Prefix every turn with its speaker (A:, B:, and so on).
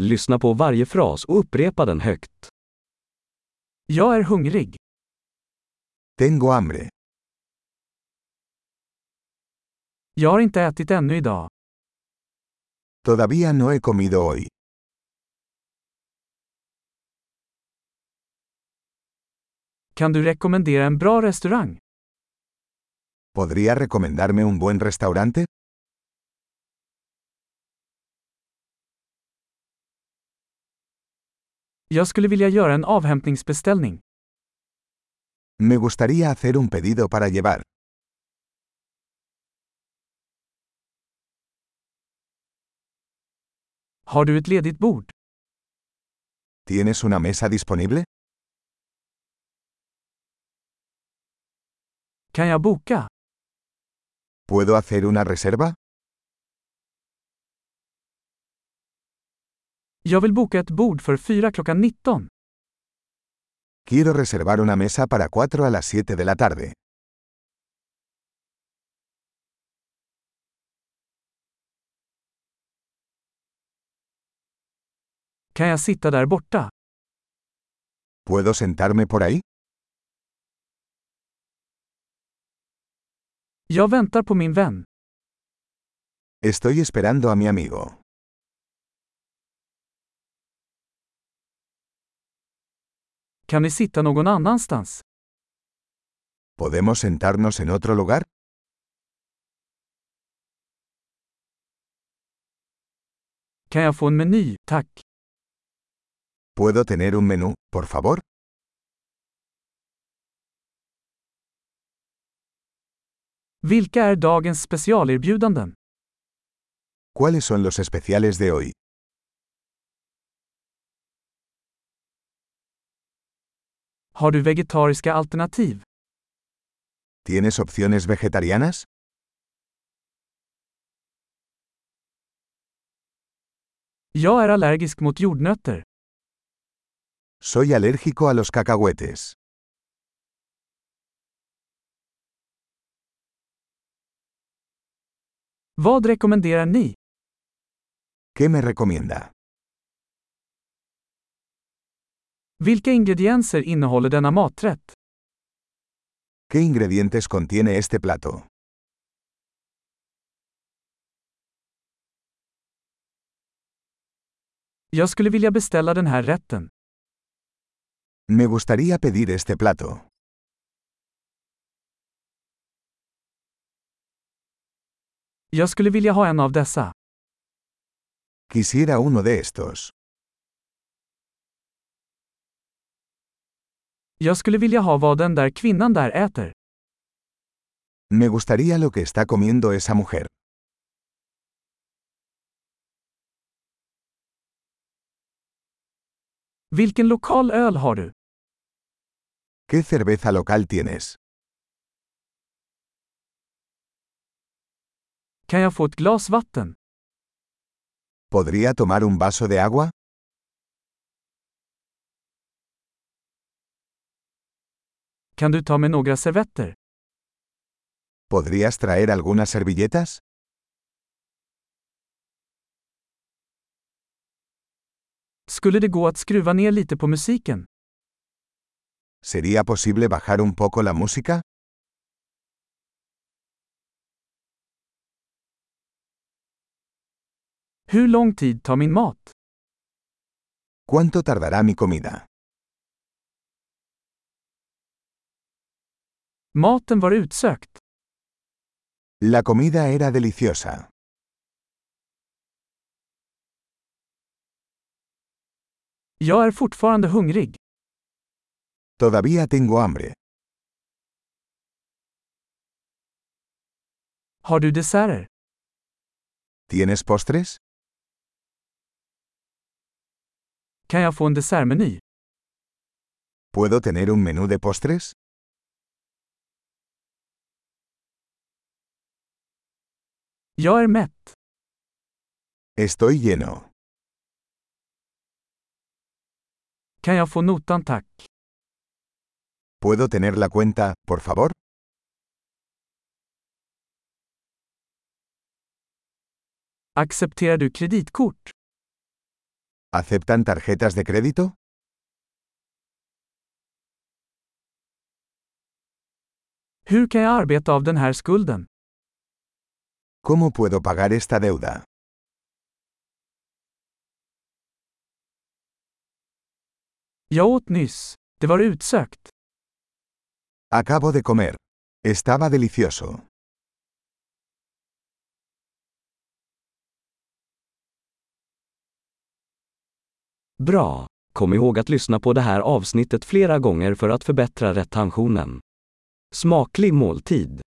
A: Lyssna på varje fras och upprepa den högt. Jag är hungrig.
B: Tengo hambre.
A: Jag har inte ätit ännu idag.
B: Todavía no he comido hoy.
A: Kan du rekommendera en bra restaurang?
B: ¿Podría recomendarme un buen restaurante?
A: Jag skulle vilja göra en avhämtningsbeställning.
B: Me gustaría hacer un pedido para llevar.
A: Har du ett ledigt bord?
B: ¿Tienes una mesa disponible?
A: Kan jag boka?
B: ¿Puedo hacer una reserva?
A: Jag vill boka ett bord för fyra klockan 19.
B: Quiero reservar una mesa para 4 a las 7 de la tarde.
A: Kan jag sitta där borta?
B: ¿Puedo sentarme por ahí?
A: Jag väntar på min vän.
B: Estoy esperando a mi amigo.
A: Kan vi sitta någon annanstans?
B: ¿Podemos sentarnos en otro lugar?
A: Kan jag få en meny, tack?
B: ¿Puedo tener un menú, por favor?
A: Vilka är dagens specialerbjudanden?
B: ¿Cuáles son los especiales de hoy?
A: Har du vegetariska alternativ?
B: ¿Tienes opciones vegetarianas?
A: Jag är allergisk mot jordnötter.
B: Soy alérgico a los cacahuetes.
A: Vad rekommenderar ni?
B: ¿Qué me recomienda?
A: Vilka ingredienser innehåller denna maträtt?
B: ¿Qué ingredientes contiene este plato?
A: Jag skulle vilja beställa den här rätten.
B: Me gustaría pedir este plato.
A: Jag skulle vilja ha en av dessa.
B: Quisiera uno de estos.
A: Jag skulle vilja ha vad den där kvinnan där äter.
B: Me gustaría lo que está comiendo esa mujer.
A: Vilken lokal öl har du?
B: ¿Qué cerveza local tienes?
A: Kan jag få ett glas vatten?
B: ¿Podría tomar un vaso de agua?
A: Kan du ta med några servetter?
B: ¿Podrías traer algunas servilletas?
A: Skulle det gå att skruva ner lite på musiken?
B: ¿Sería posible bajar un poco la música?
A: Hur lång tid tar min mat?
B: ¿Cuánto tardará mi comida?
A: Maten var utsökt.
B: La comida era deliciosa.
A: Jag är fortfarande hungrig.
B: Todavía tengo hambre.
A: Har du desserter?
B: ¿Tienes postres?
A: Kan jag få en dessertmeny?
B: ¿Puedo tener un menú de postres?
A: Jag är mätt.
B: Estoy lleno.
A: Kan jag få notan tack?
B: ¿Puedo tener la cuenta, por favor?
A: Accepterar du kreditkort?
B: ¿Aceptan tarjetas de crédito?
A: Hur kan jag arbeta av den här skulden?
B: ¿Cómo puedo pagar esta deuda?
A: Jag åt nyss. Det var utsökt.
B: Acabo de comer. Estaba delicioso.
C: Bra! Kom ihåg att lyssna på det här avsnittet flera gånger för att förbättra retentionen. Smaklig måltid!